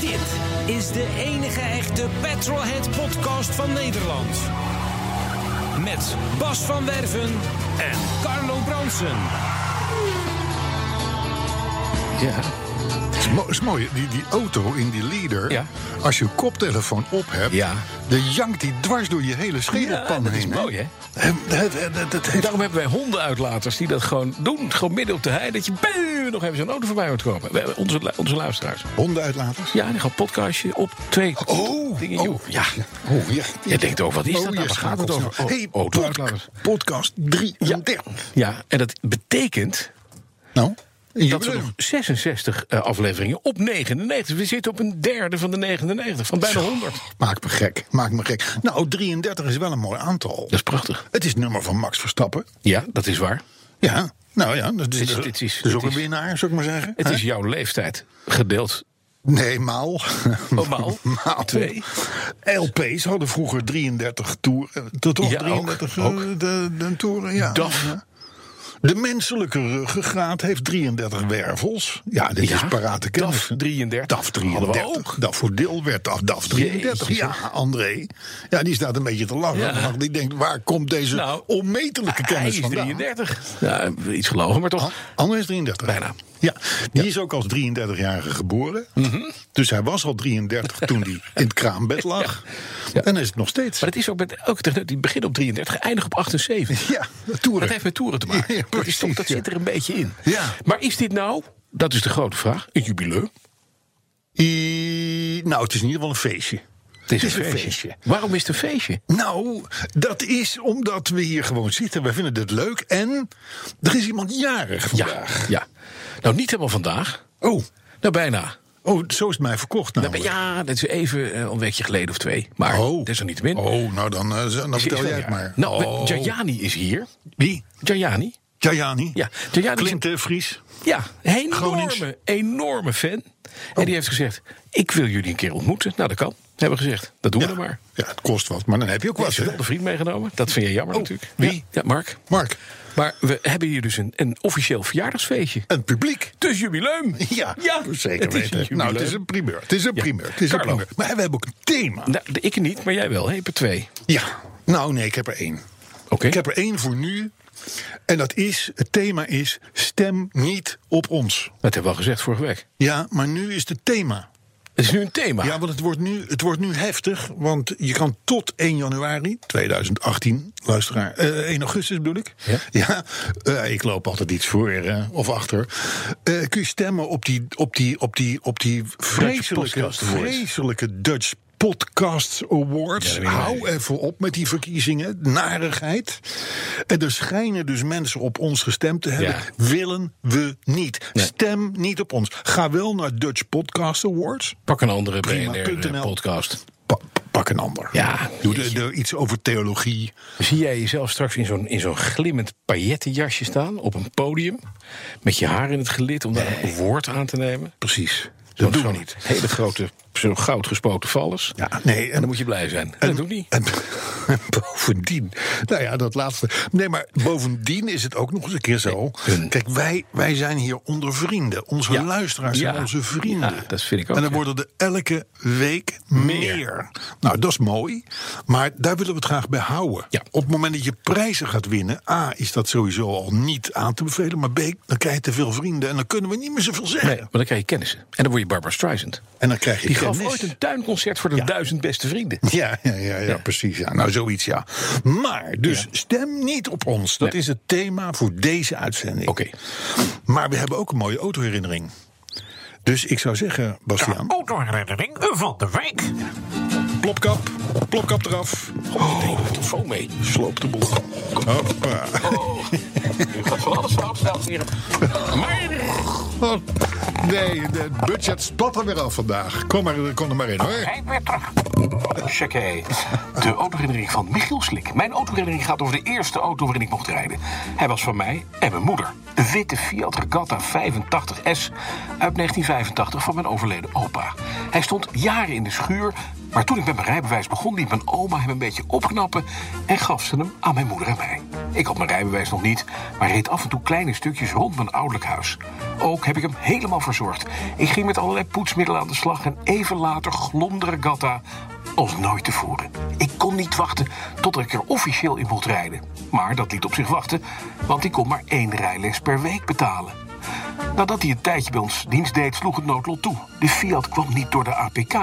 Dit is de enige echte Petrolhead podcast van Nederland. Met Bas van Werven en Carlo Bronsen. Ja. Het is, mo- is mooi, die, die auto in die leader. Ja. Als je koptelefoon op hebt, Ja. dan jankt die dwars door je hele Ja, schedelpan dat is heen. mooi, hè? Hem- het- het- het- het heeft- Daarom hebben wij hondenuitlaters die dat gewoon doen. Gewoon midden op de hei, dat je buu, nog even zo'n auto voorbij hoort komen. We hebben Onze, lu- onze luisteraars. Hondenuitlaters? Ja, die gaan podcastje op twee. Oh, dingen, oh, joh. ja. Oh, ja. Je denkt ook, wat is oh, dat Hier nou? Waar gaat gaat het het over. nou? hey, Oh, pod- auto-uitlaters. podcast 33. Ja, en dat betekent Nou, een dat we nog jubileum. 66 eh, afleveringen op 99. We zitten op een derde van de 99, van bijna 100. Maakt me gek, maakt me gek. Nou, 33 is wel een mooi aantal. Dat is prachtig. Het is het nummer van Max Verstappen. Ja, dat is waar. Ja, nou ja, dat Dit is, is- dat dit is- is dit ook een is- winnaar, zou ik maar zeggen. Het Hè? is jouw leeftijd gedeeld. Nee, maal. Oh, maal. Twee. LP's hadden vroeger 33 toeren. Tot toch Ja, 33 ook, eh, ook. De, de toeren, ja. DAF. Ja. De menselijke ruggengraat heeft 33 wervels. Ja, dit Ja, is parate kennis. DAF 33. DAF Hadden we 33. ook. DAF voor deel werd DAF, DAF 33. Jezus, ja, André. Ja, die staat een beetje te lachen. Ja. Want Die denkt, waar komt deze Nou, onmetelijke Hij kennis is vandaan? 33. Ja, iets gelogen, maar toch. Anne is 33. Bijna. Ja, die is ook als 33-jarige geboren. Mhm. Dus hij was al 33 toen hij in het kraambed lag. En is het nog steeds. Maar het is ook met ook de- die begin op 33, eindig op 78. Ja, toeren. Dat heeft met toeren te maken. Ja, dat is toch, dat precies, ja. zit er een beetje in. Ja. Maar is dit nou, dat is de grote vraag, een jubileum? I- nou, het is in ieder geval een feestje. Het is, een, feestje. Waarom is het een feestje? Nou, dat is omdat we hier gewoon zitten. We vinden het leuk. En er is iemand jarig Ja, vandaag. ja. Nou, niet helemaal vandaag. Oh, Nou, bijna. oh, zo is het mij verkocht Nou, namelijk. ja, dat is even eh, een weekje geleden of twee. Maar Oh. desalniettemin. Oh, nou dan, eh, dan Ze is vertel wel jij het jarig. maar. Nou, oh. Jajani is hier. Wie? Jajani. Jajani? Ja, Jajani is een Clint eh, Vries. Ja, een Gronings. enorme, enorme fan. Oh. En die heeft gezegd, ik wil jullie een keer ontmoeten. Nou, dat kan. Hebben we gezegd, dat doen we dan maar. Ja, het kost wat, maar dan heb je ook Ik wat. heb wel hè? de vriend meegenomen. Dat vind je jammer Oh, natuurlijk. wie? Ja, ja, Mark. Mark, Maar we hebben hier dus een, een officieel verjaardagsfeestje. een publiek. Dus jubileum. Ja, zeker het is een weten. nou, het is een primeur. Het is een Ja. primeur. Het is een Carlo. primeur. Maar we hebben ook een thema. Nou, de- ik niet, maar jij wel. Heb er twee. Ja. Nou, nee, ik heb er één. Oké. Ik heb er één voor nu. En dat is, het thema is, stem niet op ons. Dat hebben we al gezegd vorige week. Ja, maar nu is het thema. Het is nu een thema. Ja, want het wordt, nu, het wordt nu heftig. Want je kan tot 1 januari 2018, luisteraar, eh 1 augustus bedoel ik. Ja. eh, ik loop altijd iets voor eh, of achter. Eh, kun je stemmen op die, op die, op die, op die vreselijke, Podcast Awards. vreselijke Dutch Podcast Awards. Ja, dat weet ik Hou even op met die verkiezingen. Narigheid. En er schijnen dus mensen op ons gestemd te hebben. Willen we niet. Nee. Stem niet op ons. Ga wel naar Dutch Podcast Awards. Pak een andere Prima. .nl. BNR-podcast. Pa- pak een ander. Ja, Doe de, jeetje. de- iets over theologie. Zie jij jezelf straks in zo'n, in zo'n glimmend paillettenjasje staan op een podium? Met je haar in het gelid om daar een woord aan te nemen? Precies. Zo'n- Dat doen we zo'n niet. Hele grote, zo'n goudgespoten vallers. Ja, nee. En dan moet je blij zijn. En dat doe ik niet. En, en bovendien, nou ja, dat laatste. Nee, maar bovendien is het ook nog eens een keer zo. Hun. Kijk, wij, wij zijn hier onder vrienden. Onze Ja. luisteraars zijn Ja. onze vrienden. Ja, dat vind ik ook, En er ja. worden er elke week meer. Nou, dat is mooi. Maar daar willen we het graag bij houden. Ja. Op het moment dat je prijzen gaat winnen, A, is dat sowieso al niet aan te bevelen. Maar B, dan krijg je te veel vrienden en dan kunnen we niet meer zoveel zeggen. Nee, maar dan krijg je kennissen. En dan word je Barbara Streisand. En dan krijg je Die gaf kennis. ooit een tuinconcert voor de duizend beste vrienden. Ja, ja, ja, ja, precies. Ja. Nou, zoiets, ja. Maar, dus stem niet op ons. Dat Nee. is het thema voor deze uitzending. Oké. Maar we hebben ook een mooie autoherinnering. Dus ik zou zeggen, Bastiaan... Autoherinnering van de week. Oh, Plopkap. Plopkap eraf. Nee, telefoon mee. Sloop Oh, de boel. Hoppa. U gaat van alles fout, dames en heren. Maar Nee, het budget spat er weer af vandaag. Kom, maar, kom er maar in hoor. hij weer terug. Checké. De autoherinnering van Michiel Slik. Mijn autoherinnering gaat over de eerste auto waarin ik mocht rijden. Hij was van mij en mijn moeder. De witte Fiat Regatta 85S uit 1985 van mijn overleden opa. Hij stond jaren in de schuur, maar toen ik met mijn rijbewijs begon... liet mijn oma hem een beetje opknappen en gaf ze hem aan mijn moeder en mij. Ik had mijn rijbewijs nog niet, maar reed af en toe kleine stukjes rond mijn ouderlijk huis. Ook heb ik hem helemaal verzorgd. Ik ging met allerlei poetsmiddelen aan de slag en even later glomde Regatta als nooit tevoren. Ik kon niet wachten tot ik er officieel in mocht rijden. Maar dat liet op zich wachten, want ik kon maar één rijles per week betalen. Nadat hij een tijdje bij ons dienst deed, sloeg het noodlot toe. De Fiat kwam niet door de APK.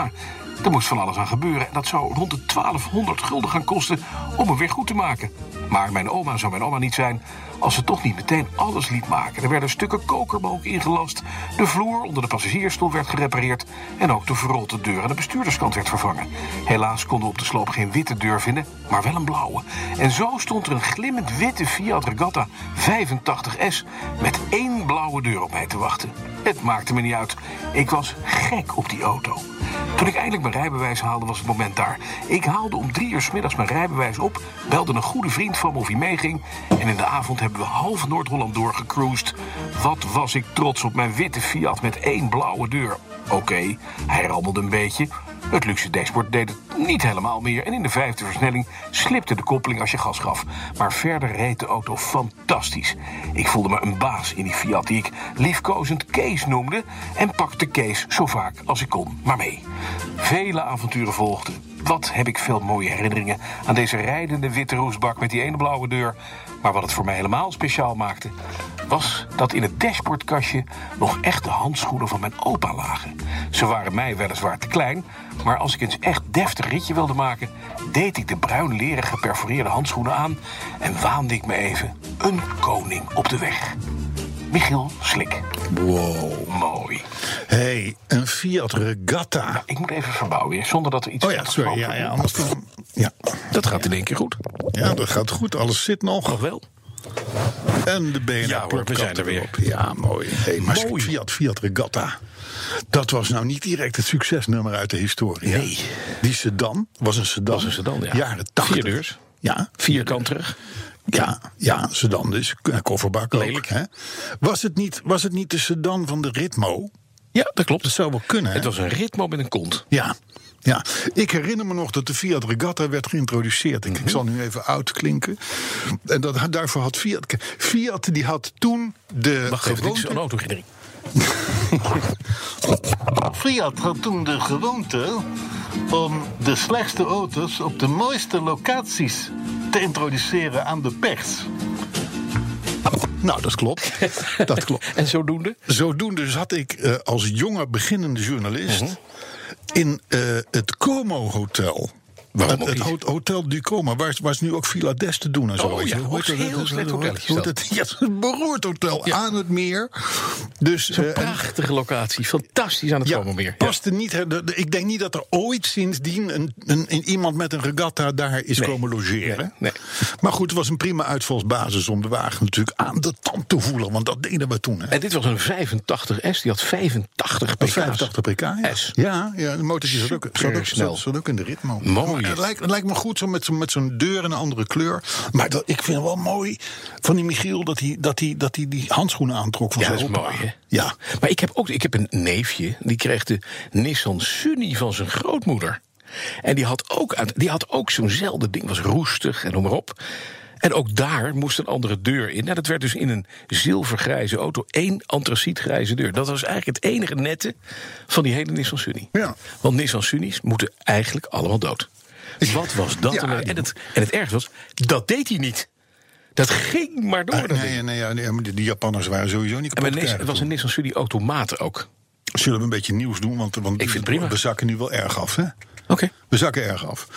Er moest van alles aan gebeuren en dat zou rond de 1200 gulden gaan kosten om hem weer goed te maken. Maar mijn oma zou mijn oma niet zijn als ze toch niet meteen alles liet maken. Er werden stukken kokermelk ingelast, de vloer onder de passagiersstoel werd gerepareerd en ook de verrotte deur aan de bestuurderskant werd vervangen. Helaas konden we op de sloop geen witte deur vinden, maar wel een blauwe. En zo stond er een glimmend witte Fiat Regatta 85S met één blauwe deur op mij te wachten. Het maakte me niet uit. Ik was gek op die auto. Toen ik eindelijk mijn rijbewijs haalde, was het moment daar. Ik haalde om drie uur 's middags mijn rijbewijs op, belde een goede vriend van me of hij meeging. En in de avond hebben we half Noord-Holland doorgecruised. Wat was ik trots op mijn witte Fiat met één blauwe deur. Oké, hij rammelde een beetje. Het luxe dashboard deed het niet helemaal meer. En in de vijfde versnelling slipte de koppeling als je gas gaf. Maar verder reed de auto fantastisch. Ik voelde me een baas in die Fiat die ik liefkozend Kees noemde. En pakte Kees zo vaak als ik kon maar mee. Vele avonturen volgden. Wat heb ik veel mooie herinneringen aan deze rijdende witte roesbak met die ene blauwe deur. Maar wat het voor mij helemaal speciaal maakte, was dat in het dashboardkastje nog echt de handschoenen van mijn opa lagen. Ze waren mij weliswaar te klein, maar als ik eens echt deftig ritje wilde maken, deed ik de bruin leren geperforeerde handschoenen aan en waande ik me even een koning op de weg. Michiel Slik. Wow. Mooi. hey, een Fiat Regatta. Ik moet even verbouwen, hè, zonder dat er iets Oh ja, sorry. Ja, ja, anders dan... Ja. Dat gaat in één keer goed. ja, dat gaat goed. Alles zit nog. wel. En de benen. Ja hoor, we plopkap zijn er weer. erop. Ja, mooi. Hey, maar Mooi. Fiat, Fiat Regatta. Dat was nou niet direct het succesnummer uit de historie. hè? Nee. Die sedan was een sedan. Was een sedan, ja. Jaren 80. Vier deurs. Ja, Vierkant terug. Ja, ja, een sedan dus. K- Kofferbak ook, Lelijk. Hè? Was, het niet, was het niet de sedan van de Ritmo? Ja, dat klopt. Dat zou wel kunnen, hè? Het was een ritme met een kont. Ja. Ja, ik herinner me nog dat de Fiat Regatta werd geïntroduceerd. Ik, Mhm. ik zal nu even oud klinken. En dat, daarvoor had Fiat... Fiat die had toen de Wacht even, dit is een gewoonte... auto -herinnering. Fiat had toen de gewoonte om de slechtste auto's op de mooiste locaties te introduceren aan de pers. Nou, dat klopt. dat klopt. En zodoende? Zodoende zat ik eh, als jonge beginnende journalist Mhm. in eh, het Como Hotel. Waarom het ook het niet? ho- Hotel du Como, waar, is- waar is nu ook Villa d'Est te doen en zo. Oh weet je. ja, Hoe heet ook dat? een heel Hoe heet slecht dat? hotelletje Hoe is heet dat? Ja, het is een beroerd hotel aan het meer. Dus, eh, en- Prachtige locatie. Fantastisch aan het ja, komen weer. paste niet. hè, de- de- Ik denk niet dat er ooit sindsdien een, een, een- iemand met een regatta daar is Nee. komen logeren. Nee. Maar goed, het was een prima uitvalsbasis om de wagen natuurlijk aan de tand te voelen. Want dat deden we toen. Hè. En dit was een 85S. Die had 85 pk's. 85 pk, ja. S. Ja, ja, de motortje zat ook, zat, ook, Supersnel. zat, zat ook in de ritme. Mooi. Maar Het lijkt, het lijkt me goed zo met, zo'n- met zo'n deur en een andere kleur. Maar dat, ik vind het wel mooi van die Michiel dat hij, dat hij, dat hij die handschoenen aantrok van Ja, zijn dat is opa. mooi, hè? Ja. Maar ik heb ook ik heb een neefje, die kreeg de Nissan Sunny van zijn grootmoeder. En die had ook, uit- die had ook zo'nzelfde ding, was roestig en noem maar op. En ook daar moest een andere deur in. Nou, dat werd dus in een zilvergrijze auto één antracietgrijze deur. Dat was eigenlijk het enige nette van die hele Nissan Sunny. Ja. Want Nissan Sunnies moeten eigenlijk allemaal dood. Wat was dat? Ja, een- die- en, het, en het ergste was, dat deed hij niet. Dat ging maar door. dat ding. Nee, nee, ja, nee, maar die die Japanners waren sowieso niet en kapot. bij te Nissan, krijgen het was een toen. Nissan Sunny automaat ook. Zullen we een beetje nieuws doen? Want, want Ik vind het prima. we zakken nu wel erg af, hè? Oké. We zakken erg af.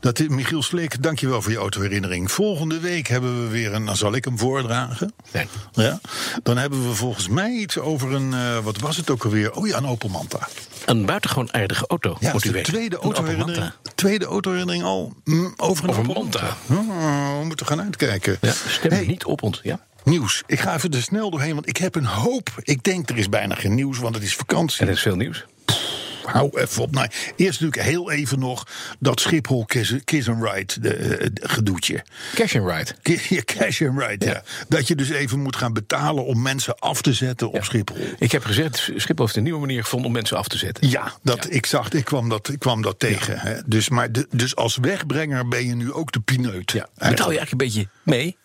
Dat is Michiel Sleek, dankjewel voor je autoherinnering. Volgende week hebben we weer een. Dan zal ik hem voordragen. Nee. Ja. Dan hebben we volgens mij iets over een. eh, wat was het ook alweer? Oh ja, een Opel Manta. Een buitengewoon aardige auto, Ja, dat moet is u de weten. tweede Een Opel autoherinnering, Manta. tweede autoherinnering al mm, over een Over Opel Manta. Oh, we moeten gaan uitkijken. Ja, stem Hey, niet op ons. Ja. Nieuws. Ik ga even er snel doorheen, want ik heb een hoop. Ik denk er is bijna geen nieuws, want het is vakantie. Er is veel nieuws. Hou even op. Nou, eerst natuurlijk heel even nog dat Schiphol Kiss, kiss and Ride de, eh, de- gedoetje. Cash and Ride. Ki- ja, Cash and Ride, ja. Dat je dus even moet gaan betalen om mensen af te zetten op Schiphol. Ik heb gezegd, Schiphol heeft een nieuwe manier gevonden om mensen af te zetten. Ja, dat, Ik, zag, ik, kwam dat, ik kwam dat tegen. Hè. Dus, maar de- dus als wegbrenger ben je nu ook de pineut. Ja, Eigenlijk. betaal je eigenlijk een beetje mee.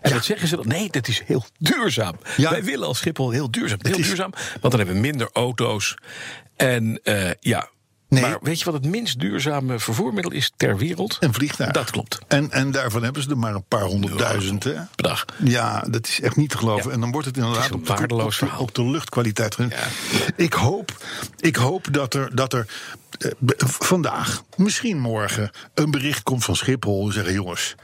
En dat zeggen ze dan? Nee, dat is heel duurzaam. Ja. Wij willen als Schiphol heel duurzaam. Heel is- duurzaam, want dan hebben we minder auto's. En eh, ja. Nee. Maar weet je wat het minst duurzame vervoermiddel is ter wereld? Een vliegtuig. Dat klopt. En, en daarvan hebben ze er maar een paar honderdduizend. hè? Per dag. Ja, dat is echt niet te geloven. En dan wordt het inderdaad Het is een op de- op de- waardeloos verhaal. Op de luchtkwaliteit. Ik hoop, ik hoop dat er, dat er eh, b- vandaag, misschien morgen, een bericht komt van Schiphol. En zeggen jongens,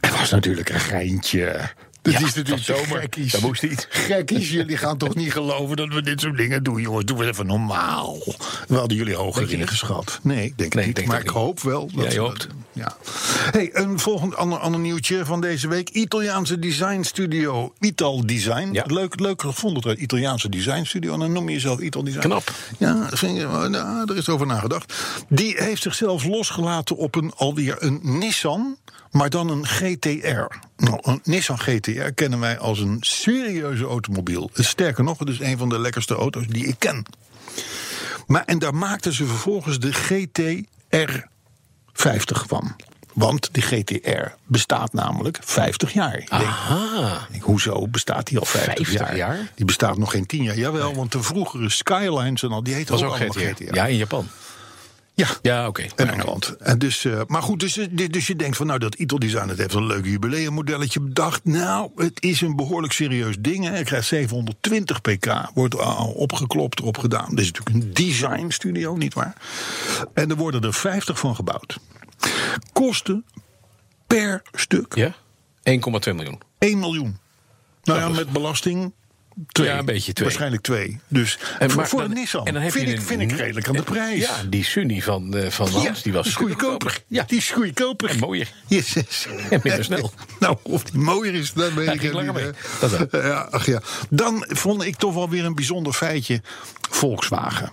het was natuurlijk een geintje. Dat Ja, is natuurlijk dat is zomer. gekkies. Dat moest niet. Gekkies, jullie gaan toch niet geloven dat we dit soort dingen doen, jongens. Doe eens even normaal. We hadden jullie hoger ingeschat. Nee, ik denk het Nee, ik niet. denk maar het ik niet. hoop wel dat Ja, je ze dat hoopt. doen. Ja. Hey, een volgend ander, ander nieuwtje van deze week. Italiaanse designstudio Ital Design. Ja. Leuk, leuk gevonden, het Italiaanse designstudio. En dan noem je jezelf Ital Design. Knap. Ja, vind je- nou, er is over nagedacht. Die heeft zichzelf losgelaten op een, alweer een Nissan, maar dan een GTR. Nou, een Nissan GTR kennen wij als een serieuze automobiel. Sterker nog, het is een van de lekkerste auto's die ik ken. Maar, en daar maakten ze vervolgens de GTR 50 van. Want die GTR bestaat namelijk 50 jaar. Ik denk, Aha. ik, hoezo bestaat die al 50, 50 jaar? Die bestaat nog geen 10 jaar. Jawel, want de vroegere Skylines en al, die heten Dat ook, was ook allemaal GTR. GTR. Ja, in Japan. Ja. Ja, oké. En Engeland. En dus, eh, maar goed, dus, eh, dus je denkt van nou dat Ital Design het heeft een leuk jubileummodelletje bedacht. Nou, het is een behoorlijk serieus ding. Hè. Hij krijgt 720 pk, wordt al opgeklopt, erop gedaan. Dit is natuurlijk een design studio, nietwaar? En er worden er 50 van gebouwd. Kosten per stuk Ja? 1,2 miljoen. 1 miljoen. Nou ja, met belasting. Twee. Ja, een beetje twee. Waarschijnlijk twee. Dus En voor, maar voor dan- een Nissan en dan heb vind, je ik, een- vind ik redelijk aan de prijs. Ja, die Sunny van, eh, van Hans, die was is goedkoper. Ja, Die is goedkoper. En mooier. Jezus. En minder snel. nou, of die mooier is, dat weet Ja, ik ging niet. langer hè. mee. Dat wel. Ja, ach ja. Dan vond ik toch wel weer een bijzonder feitje. Volkswagen,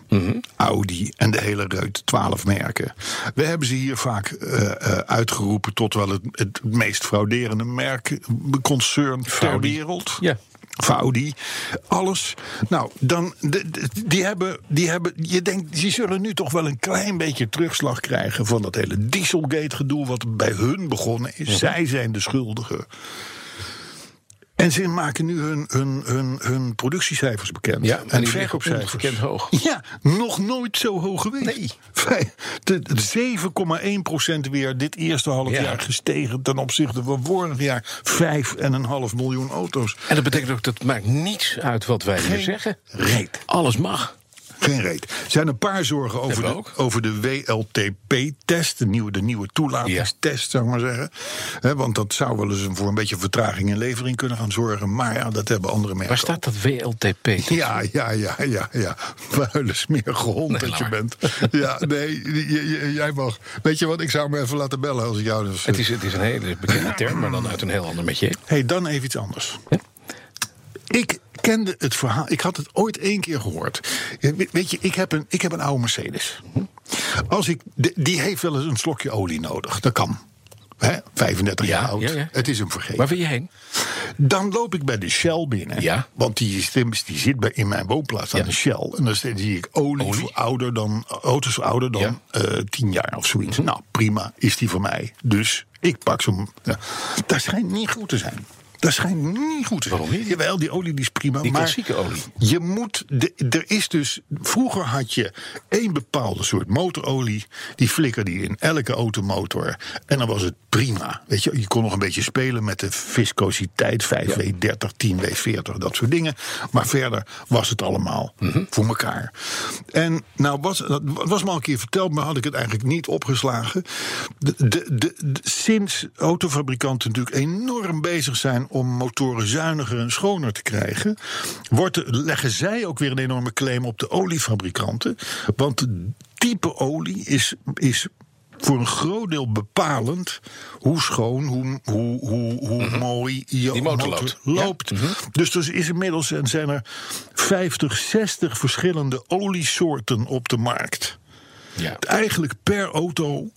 Audi en de hele reut, 12 merken. We hebben ze hier vaak eh, eh, uitgeroepen tot wel het, het meest frauderende merkconcern ter Audi. wereld. Ja. Vaudi, alles. Nou, dan, de- de- die, hebben, die hebben, je denkt, die zullen nu toch wel een klein beetje terugslag krijgen van dat hele Dieselgate-gedoe wat bij hun begonnen is. Zij zijn de schuldigen. En ze maken nu hun, hun, hun, hun productiecijfers bekend. Ja, en en die liggen ongekend hoog. Ja, nog nooit zo hoog geweest. Nee. 7,1 weer dit eerste half Ja. jaar gestegen ten opzichte van vorig jaar. 5,5 miljoen auto's. En dat betekent ook, dat maakt niets uit wat wij hier Geen zeggen. reet. Alles mag. Geen reet. Er zijn een paar zorgen over Hebben we de, ook. over de WLTP-test, de nieuwe, de nieuwe toelatingstest, zou ik maar zeggen. Hè, want dat zou wel eens een- voor een beetje vertraging in levering kunnen gaan zorgen. Maar ja, dat hebben andere merken. Waar staat dat WLTP? Ja, ja, ja, ja, ja. Vuile smerige hond Nee, dat je laat bent. Ja, nee, j- j- jij mag. Weet je wat, ik zou me even laten bellen als ik jou... Dus, Het is, het is een hele bekende term, maar dan uit een heel ander metje. hey, dan even iets anders. Ik kende het verhaal. Ik had het ooit één keer gehoord. Je- we- Weet je, ik heb een, ik heb een oude Mercedes. Als ik, de- die heeft wel eens een slokje olie nodig. Dat kan. Hè? 35 Ja, jaar oud. ja, ja. Het is hem vergeten. Waar wil je heen? Dan loop ik bij de Shell binnen. Ja. Want die, is- die zit bij, in mijn woonplaats aan Ja. de Shell. En dan zie ik olie, Olie. Voor ouder dan, auto's voor ouder dan Ja. Mhm. eh, 10 jaar of zoiets. Nou, prima, is die voor mij. Dus ik pak zo'n... Ja. Dat schijnt niet goed te zijn. Dat schijnt niet goed te zijn. Waarom niet? Jawel, die olie die is prima. Die maar klassieke olie. Je moet, de- er is dus, vroeger had je één bepaalde soort motorolie. Die flikkerde je in elke automotor. En dan was het prima. Weet je, je kon nog een beetje spelen met de viscositeit. 5W30, 10W40, dat soort dingen. Maar verder was het allemaal Mhm. voor elkaar. En nou, was, dat was me al een keer verteld, maar had ik het eigenlijk niet opgeslagen. De, de, de, de- sinds autofabrikanten natuurlijk enorm bezig zijn om motoren zuiniger en schoner te krijgen, wordt, er- leggen zij ook weer een enorme claim op de oliefabrikanten. Want het type olie is. is voor een groot deel bepalend hoe schoon, hoe, hoe, hoe, hoe mooi je Mhm. Die motor loopt. Mhm. loopt. Dus er is inmiddels en zijn er 50, 60 verschillende oliesoorten op de markt. Ja. Eigenlijk per auto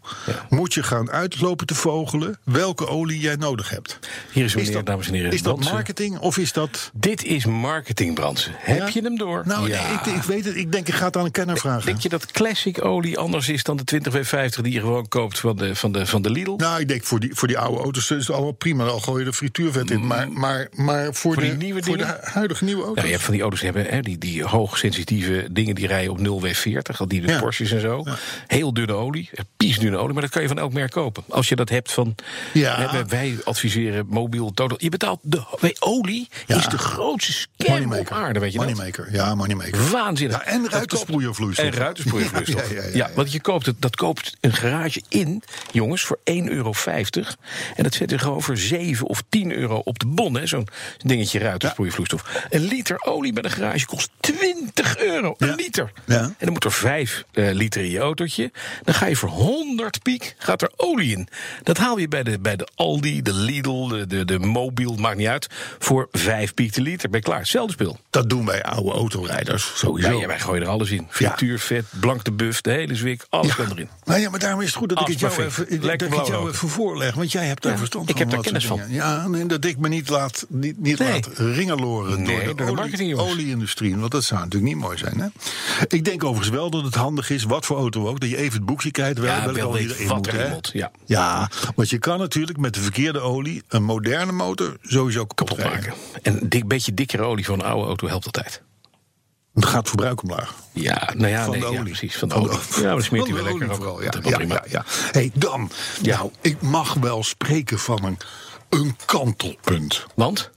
moet je gaan uitlopen te vogelen welke olie jij nodig hebt. Hier is meneer, dames en heren. Is dat Brandsen. marketing of is dat. Dit is marketing, Brandsen. Heb Ja? je hem door? Nou, Ja. ik, ik weet het. Ik denk, ik ga het aan een kenner vragen. Denk je dat classic olie anders is dan de 20W50 die je gewoon koopt van de, van de, van de Lidl? Nou, ik denk voor die, voor die oude auto's is het allemaal prima. Dan gooi je er frituurvet in. Maar, Mm. maar, maar voor, Voor die de, nieuwe voor de dingen? hu- huidige nieuwe auto's. Ja, Nou, je hebt van die auto's die hebben hè, die, die hoogsensitieve dingen die rijden op 0W40, al die de Ja. Porsches en zo. Heel dunne olie, eh, piesdunne olie, maar dat kan je van elk merk kopen. Als je dat hebt van, Ja. hè, wij- wij adviseren mobiel, totaal. Je betaalt, de, bij olie Ja. is de grootste scam op moneymaker. aarde, weet je dat? moneymaker. Ja, moneymaker. Waanzinnig. Ja, en Dat ruitensproeiervloeistof. En ruitensproeiervloeistof. Ja, ja, Ja, ja, ja, ja. want je koopt het, dat koopt een garage in, jongens, voor 1,50 euro. En dat zet je gewoon voor 7 of 10 euro op de bon, hè, zo'n dingetje ruitensproeiervloeistof. Een liter olie bij de garage kost 20 euro. Ja. Een liter. Ja. En dan moet er 5 liter in je autootje. Dan ga je voor 100 piek, gaat er olie in. Dat haal je bij de, bij de Aldi, de Lidl, de, de, de Mobiel, maakt niet uit. Voor 5 piek de liter, ben je klaar. Hetzelfde spul. Dat doen wij oude autorijders Ja, sowieso. ja, wij gooien er alles in. Frituur, vet, blank de buff, de hele zwik, alles kan erin. Nou ja, maar daarom is het goed dat ik het jou, Asperfect. even, dat Lekker ik het jou blauw ook. even voorleg. Want jij hebt daar Ja, verstand ik van. heb daar wat kennis soort dingen. Ja, nee, dat ik me niet laat, niet, niet Nee. laat ringeloren Nee, door door de de, marketing, olie, jongens. olieindustrie. Want dat zou natuurlijk niet mooi zijn. Hè? Ik denk overigens wel dat het handig is, wat voor auto ook, dat je even het boekje kijkt wel, Ja, welke wel olie weet erin wat moet, erin hè. moet, ja. ja, want je kan natuurlijk met de verkeerde olie een moderne motor sowieso kapot, Kapot rijden. maken. En een dik, beetje dikkere olie van een oude auto helpt altijd. Dan gaat het verbruik omlaag. Ja, nou ja, van nee, de ja, olie. precies. Van de olie. Ja, maar dan smeert hij Van wel de lekker. olie ook. vooral, Dat is ja. wel Ja, prima. ja, ja. Hey, dan. Ja. Nou, ik mag wel spreken van een, een kantelpunt. Want?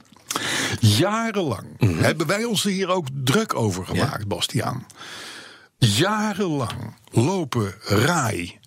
Jarenlang Mhm. hebben wij ons er hier ook druk over gemaakt, Bastiaan. Jarenlang lopen RAI,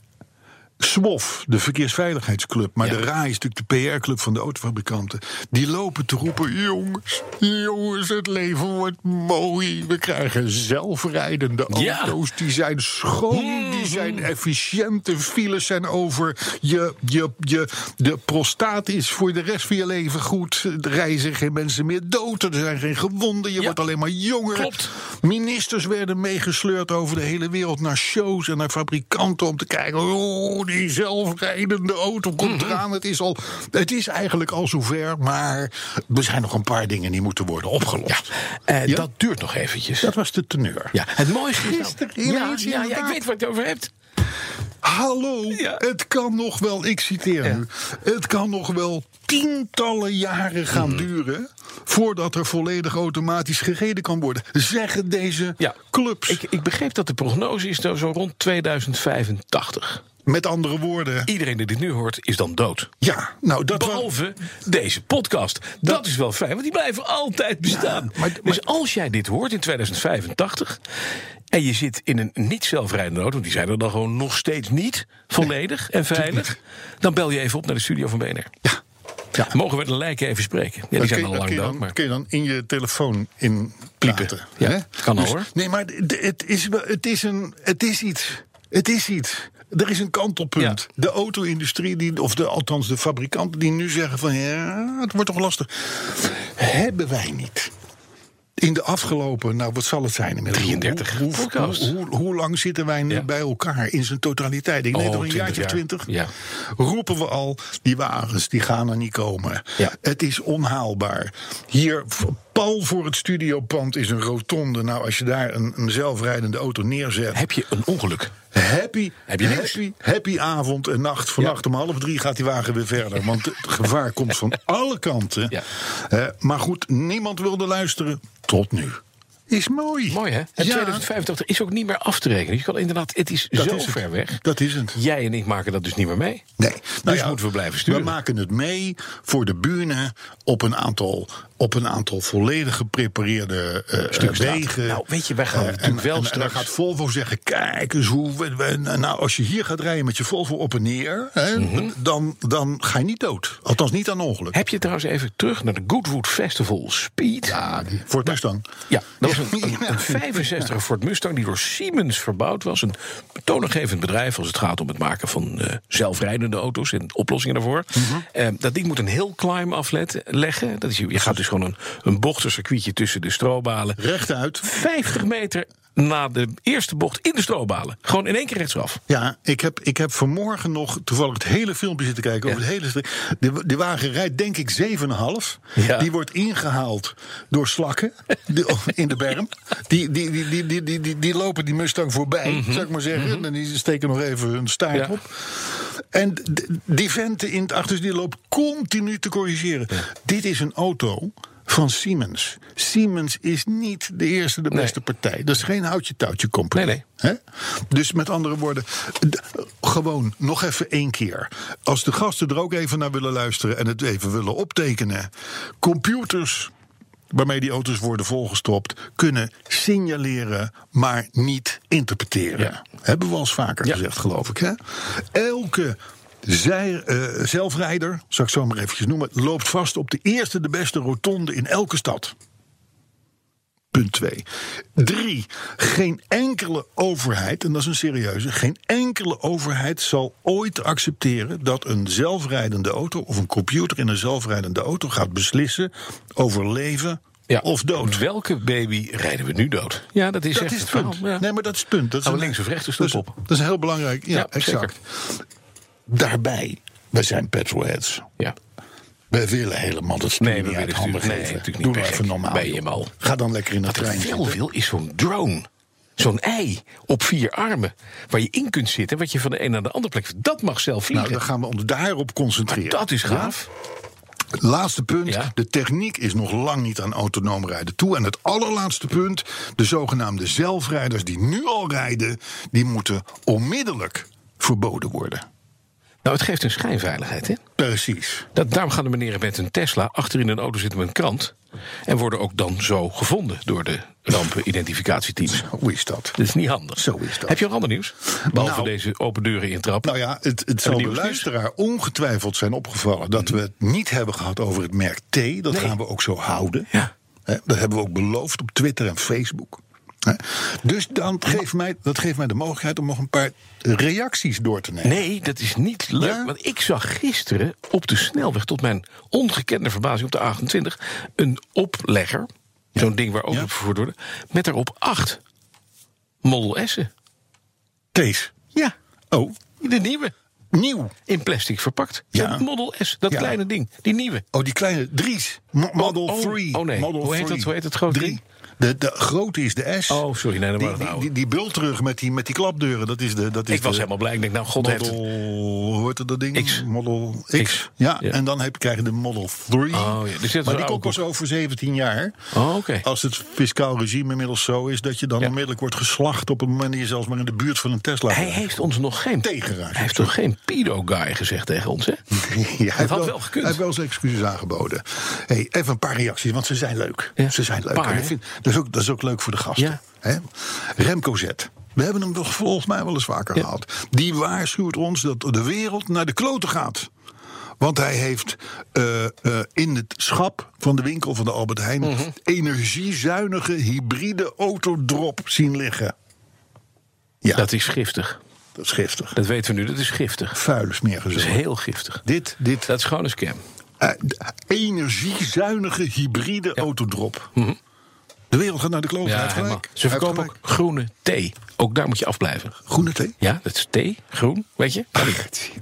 SWOF, de Verkeersveiligheidsclub... maar Ja. de RAI is natuurlijk de PR-club van de autofabrikanten... die lopen te roepen, jongens, jongens, het leven wordt mooi. We krijgen zelfrijdende Ja. auto's, die zijn schoon, Mhm. die zijn efficiënt... de files zijn over, je, je, je, de prostaat is voor de rest van je leven goed... er reizen geen mensen meer dood, er zijn geen gewonden, je Ja. wordt alleen maar jonger. Klopt. Ministers werden meegesleurd over de hele wereld naar shows en naar fabrikanten om te kijken. Oh, die zelfrijdende auto komt Mhm. eraan. Het is, al, het is eigenlijk al zover, maar er zijn nog een paar dingen die moeten worden opgelost. Eh, Ja. Dat duurt nog eventjes. Dat was de teneur. ja, het mooiste is nou- Gisteren ja, ineens ja, ja, ik inderdaad. weet waar je het over hebt. Hallo, Ja. het kan nog wel, ik citeer nu, het kan nog wel tientallen jaren gaan Hmm. duren voordat er volledig automatisch gereden kan worden. Zeggen deze Ja. clubs. Ik, ik begreep dat de prognose is nou zo rond 2085. Met andere woorden, Iedereen die dit nu hoort, is dan dood. ja, nou dat wa- Behalve deze podcast. Dat, is wel fijn, want die blijven altijd bestaan. Ja, maar- dus als jij dit hoort in 2085 en je zit in een niet zelfrijdende auto, want die zijn er dan gewoon nog steeds niet volledig en veilig, dan bel je even op naar de studio van BNR. Ja. Ja. Mogen we de lijken even spreken? Ja, die Dat zijn kun al je- lang dat kun je dood, dan- maar kun je dan in je telefoon in praten, Ja, hè? Dus- kan al, hoor. Nee, maar d- d- het is, wel- het, is een, het is iets. Het is iets. Er is een kantelpunt. Ja. De auto-industrie, die, of de, althans de fabrikanten die nu zeggen van... ja, het wordt toch lastig. Hebben wij niet. In de afgelopen, nou wat zal het zijn inmiddels? 33 Hoe, hoe, podcasts. hoe, hoe- hoe lang zitten wij nu Ja. bij elkaar in zijn totaliteit? Ik denk Oh, toch een 20 jaartje of jaar. twintig. Ja. Roepen we al, die wagens die gaan er niet komen. Ja. Het is onhaalbaar. Hier v- Pal voor het studiopand is een rotonde. Nou, als je daar een, een zelfrijdende auto neerzet. Heb je een ongeluk? Happy, Heb je nieuws? happy, happy avond en nacht. Vannacht om half drie gaat die wagen weer verder. Want het gevaar komt van alle kanten. Ja. Eh, maar goed, niemand wilde luisteren. Tot nu. Is mooi. Mooi hè? En Ja, 2085 is ook niet meer af te rekenen. Je kan inderdaad, het is dat zo is het. ver weg. Dat is het. Jij en ik maken dat dus niet meer mee. Nee. Dus moeten we blijven sturen. Nou We maken het mee voor de bühne op een aantal, op een aantal volledig geprepareerde eh, Stuk straat. wegen. Nou, weet je, wij gaan Eh, natuurlijk en, wel en, En straks- dan gaat Volvo zeggen, kijk eens hoe... we- we- nou, als je hier gaat rijden met je Volvo op en neer... Hè, Mhm. dan, dan ga je niet dood. Althans, niet aan ongeluk. Heb je trouwens even terug naar de Goodwood Festival Speed? Ja, Voor het Mustang. Ja, dat was een, een, een 65 Ford Mustang die door Siemens verbouwd was. Een toonaangevend bedrijf als het gaat om het maken van eh, zelfrijdende auto's en oplossingen daarvoor. Mhm. Eh, dat ding moet een heel climb afleggen. Dat is, je je gaat dus gewoon een, een bocht, een circuitje tussen de strobalen. Rechtuit. 50 meter na de eerste bocht in de strobalen. Gewoon in één keer rechtsaf. Ja, ik heb, ik heb vanmorgen nog toevallig het hele filmpje zitten kijken. Over Ja. het hele stri- de, de wagen rijdt denk ik 7,5. Ja. Die wordt ingehaald door slakken de- in de berm. Die, die, die, die, die, die, die, die lopen die Mustang voorbij, zou ik maar zeggen. En die steken nog even hun staart Mhm. Ja. op. En d- die venten in het achterste die loopt continu te corrigeren. Dit is een auto van Siemens. Siemens is niet de eerste, de Nee. beste partij. Dat is geen houtje-touwtje compagnie. Nee, nee. Hè? Dus met andere woorden, d- gewoon nog even één keer. Als de gasten er ook even naar willen luisteren en het even willen optekenen. Computers waarmee die auto's worden volgestopt, kunnen signaleren, maar niet interpreteren. Ja. Hebben we al eens vaker Ja. gezegd, geloof ik. Hè? Elke zij, eh, zelfrijder, zal ik zo maar eventjes noemen, loopt vast op de eerste, de beste rotonde in elke stad. Punt 2. 3. Geen enkele overheid, en dat is een serieuze, geen enkele overheid zal ooit accepteren dat een zelfrijdende auto of een computer in een zelfrijdende auto gaat beslissen over leven of dood. Welke baby rijden we nu dood? Ja, dat is Dat echt is het punt. verhaal, nou? ja. Nee, maar dat is het punt. Dat is Gaan we een- links of rechts de dat is- stoep op? Dat is heel belangrijk. Ja, Ja, exact. Daarbij, wij zijn petrolheads. ja. Wij willen helemaal dat studie Nee, we uit willen handen natuurlijk- nee, geven. natuurlijk niet. Doe nou Ben even gek. normaal. Ben je joh. mal. Ga dan lekker in het Wat ik trein. veel zitten. wil is zo'n drone. Zo'n ei op vier armen. Waar je in kunt zitten. Wat je van de een naar de andere plek. Dat mag zelf Nou, vliegen. dan gaan we ons daarop concentreren. dat is gaaf. Laatste punt. Ja. De techniek is nog lang niet aan autonoom rijden toe. En het allerlaatste punt. De zogenaamde zelfrijders die nu al rijden... die moeten onmiddellijk verboden worden. Nou, het geeft een schijnveiligheid, hè? Precies. Dat, daarom gaan de meneren met een Tesla achterin een auto zitten met een krant. En worden ook dan zo gevonden door de rampenidentificatieteams. Hoe is dat? Dat is niet handig. Zo is dat. Heb je nog ander nieuws? Behalve Nou. deze open deuren intrappen. Nou ja, het, het zal die de nieuws? luisteraar ongetwijfeld zijn opgevallen... dat we het niet hebben gehad over het merk T. Dat gaan we ook zo houden. Ja. Hè, Dat hebben we ook beloofd op Twitter en Facebook. Hè, Dus dan geeft mij, dat geeft mij de mogelijkheid om nog een paar reacties door te nemen. Nee, dat is niet leuk. Ja? Want ik zag gisteren op de snelweg, tot mijn ongekende verbazing op de 28, een oplegger. Zo'n ding waar ook Ja. op vervoerd worden. Met daarop acht Model S'en. Thees. Ja, Oh, de nieuwe. nieuw. In plastic verpakt. Ja. Dat Model S, dat Ja. kleine ding. Die nieuwe. Oh, die kleine Dries. Mo- Model oh, 3. oh nee. Model Hoe heet three. dat- hoe heet dat grote Drie. ding? De, de grote is de S. Oh, sorry, nee, dat die, Nou, waren de die, oude. die, die bultrug met die, met die klapdeuren. Dat is de, dat is Ik was de helemaal blij. Ik denk, nou, God heeft Model, het. hoe heet dat ding? X. Model X. X. Ja, Ja. en dan heb, krijg je de Model 3. ja, dus dit is een maar die oude komt pas koek. over 17 jaar. Oh, oké. Als het fiscaal regime inmiddels zo is... dat je dan Ja. onmiddellijk wordt geslacht... op het moment dat je zelfs maar in de buurt van een Tesla Hij rijdt. heeft ons nog geen. Tegenruis. Hij heeft toch geen pedo-guy gezegd tegen ons, hè? Ja, hij had heeft wel gekund. Hij heeft wel zijn excuses aangeboden. Hey, even een paar reacties, want ze zijn leuk. Ja, Ze zijn leuk. paar, En ik hè? vind, dat, is ook, dat is ook leuk voor de gasten. Ja. Hè? Remco Z. We hebben hem toch volgens mij wel eens vaker Ja. gehad. Die waarschuwt ons dat de wereld naar de kloten gaat. Want hij heeft eh, eh, in het schap van de winkel van de Albert Heijn... Mhm. energiezuinige hybride autodrop zien liggen. Ja, Dat is giftig. dat is giftig. Dat weten we nu. Dat is giftig. Vuil is meer Dat is gezegd. heel giftig. Dit, dit, Dat is gewoon een scam. Eh, d- energiezuinige hybride autodrop. De wereld gaat naar de kloot. hij heeft Mhm. helemaal. gelijk. Ze Hij heeft verkopen ook gelijk. groene thee. Ook daar moet je afblijven. groene thee. Ja, dat is thee, groen, weet je? Ah,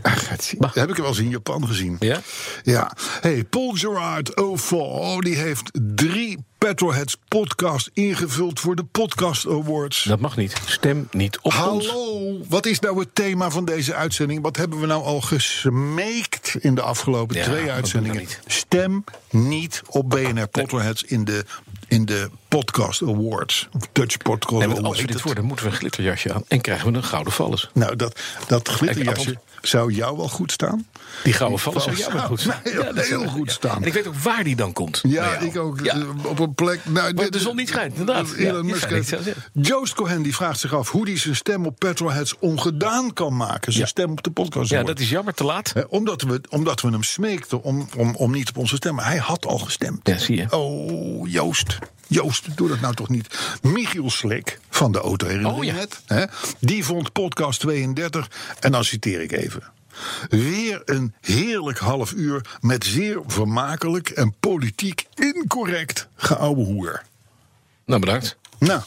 Agatsi. Dat heb ik wel eens in Japan gezien. Ja? Ja. Hey, Paul Gerard 04, die oh, heeft drie Petrolheads podcast ingevuld voor de Podcast Awards. Dat mag niet. Stem niet op ons. Hallo, wat is nou het thema van deze uitzending? Wat hebben we nou al gesmeekt in de afgelopen Ja, twee dat uitzendingen? doen we Stem niet op BNR Potterheads in de, in de Podcast Awards. Of Dutch Podcast En Awards. als we dit worden, moeten we een glitterjasje aan en krijgen we een gouden vallus. Nou, dat, dat glitterjasje Kijk, zou jou wel goed staan. Die gouden vallus zou jou wel zou goed staan. mij heel zou- goed staan. En ik weet ook waar die dan komt. Ja, Bij jou. ik ook. Nou Ja. eh, Op een plek. Nou, Waar dit- de zon niet schijnt, inderdaad. Elon Ja, die Musk zou ik heeft- zelf zeggen. Joost Cohen die vraagt zich af hoe hij zijn stem op Petrolheads ongedaan kan maken. Zijn Ja. stem op de podcast. ja, hoort. dat is jammer, te laat. Hè, omdat, we, omdat we hem smeekten om, om, om niet op onze stem. Maar hij had al gestemd. Ja, zie je. Oh, Joost. Joost, doe dat nou toch niet. Michiel Slik van de Auto Oh, ja. net. Hè, die vond podcast 32. En dan citeer ik even. Weer een heerlijk half uur met zeer vermakelijk en politiek incorrect geouwehoer. Nou, bedankt. Nou,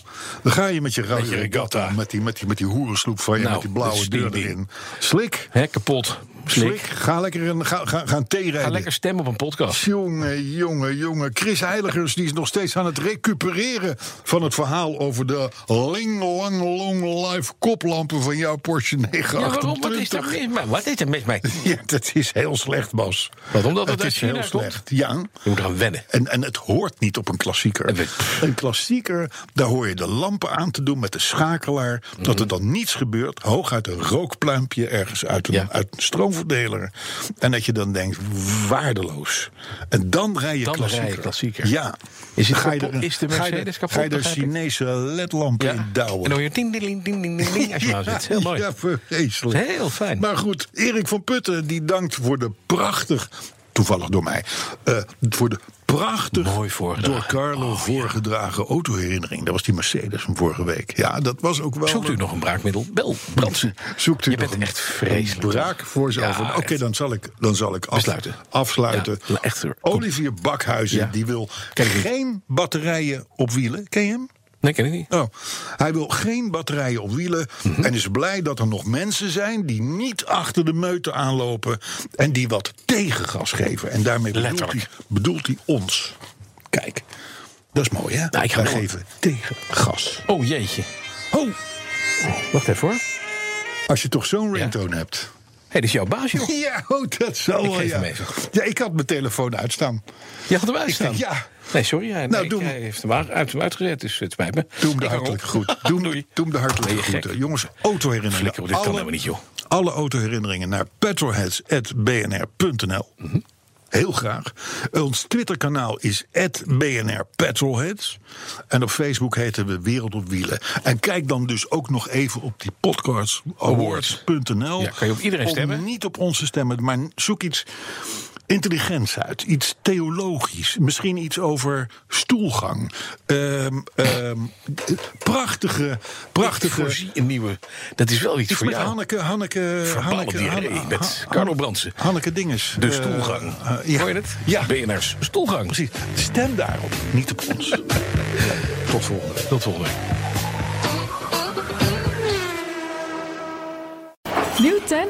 dan ga je met je rode je regatta. regatta, met die, met die, met die hoerensloep van je, Nou, met die blauwe dat is deur die- die- erin. Slik, Hè, kapot. Slik, Slik. ga lekker een, ga, ga, ga een thee Ga rijden. lekker stemmen op een podcast. Jongen, jongen, jongen. Chris Heiligers die is nog steeds aan het recupereren van het verhaal over de ling lang long life koplampen van jouw Porsche Ja, waarom? Wat 928. is dat mis mee? Wat is er mis mee? Ja, dat is heel slecht, Bas. Wat, omdat het het uit is heel China komt? slecht. Ja. Je moet eraan wennen. En, en het hoort niet op een klassieker. En we- Een klassieker, daar hoor je de lampen aan te doen met de schakelaar. Dat er Mhm. dan niets gebeurt. Hooguit een rookpluimpje ergens uit een, Ja. uit een stroomverdeler. En dat je dan denkt, waardeloos. En dan rij je Dan rij je klassieker. klassieker. Ja. Is het Ga je kapot- er- is de ga je er- Mercedes kapot, Ga je er begrijp ik? Chinese ledlampen Ja. in En douwen. dan hoor je ding, ding, ding, ding, ding, ding, als je nou zit. Heel mooi. Ja, vreselijk. Heel fijn. Maar goed, Erik van Putten, die dankt voor de prachtig, toevallig door mij, eh, voor de prachtig Mooi voorgedragen. Oh, door Carlo voorgedragen autoherinnering. Dat was die Mercedes van vorige week. Ja, dat was ook wel... Zoekt u nog een braakmiddel? Bel Brandsen. Zoekt u Je nog bent een- echt vreselijk. een braak voor Ja, zelf. Oké, echt. dan zal ik, dan zal ik af- Besluiten. afsluiten. Ja, echt hoor. Olivier Bakhuizen, Ja. die wil Ken ik niet. geen batterijen op wielen. Ken je hem? Nee, ken ik niet. Oh, hij wil geen batterijen op wielen Mhm. en is blij dat er nog mensen zijn die niet achter de meute aanlopen en die wat tegengas geven. En daarmee bedoelt hij, Letterlijk. bedoelt hij ons. Kijk, dat is mooi hè? Nou, ik ga Wij door. geven tegengas. Oh jeetje. Oh, Wacht even hoor. als je toch zo'n ringtone hebt. hey, dit is jouw baas, joh. Ja, oh, dat zal Ik wel, geef ja. hem even. ja, ik had mijn telefoon uitstaan. Je had hem uitstaan. denk, ja. Nee, sorry. Hij, Nou, nee, doe hem. hij heeft hem uit- uit hem uitgezet, dus het spijt me. Doe hem Ik de hang hartelijke op. groet. Doe hem, Doei. doe hem de hartelijke Ben je gek? groet. Jongens, autoherinneringen. Flikker op, dit kan helemaal niet, joh. Alle autoherinneringen naar petrolheads.bnr.nl. Mhm. Heel graag. Ons Twitterkanaal is BNR Petrolheads. En op Facebook heten we Wereld op Wielen. En kijk dan dus ook nog even op die podcastawards.nl. Ja, kan je op iedereen Om stemmen? Niet op onze stemmen, maar zoek iets intelligents uit. Iets theologisch. Misschien iets over stoelgang. Ehm, ehm, prachtige, Ik prachtige... voorzie een nieuwe. Dat is wel iets Iets voor met jou. Hanneke, Hanneke, Verbouw Hanneke, die Hanne- ree met Han- Carlo Brandsen. Hanneke Dinges. De Eh, stoelgang. eh, ja. Hoor je het? Ja, BNR's stoelgang. precies. Stem daarop, niet op ons. Tot volgende. week. Tot volgende week. Nieuw 10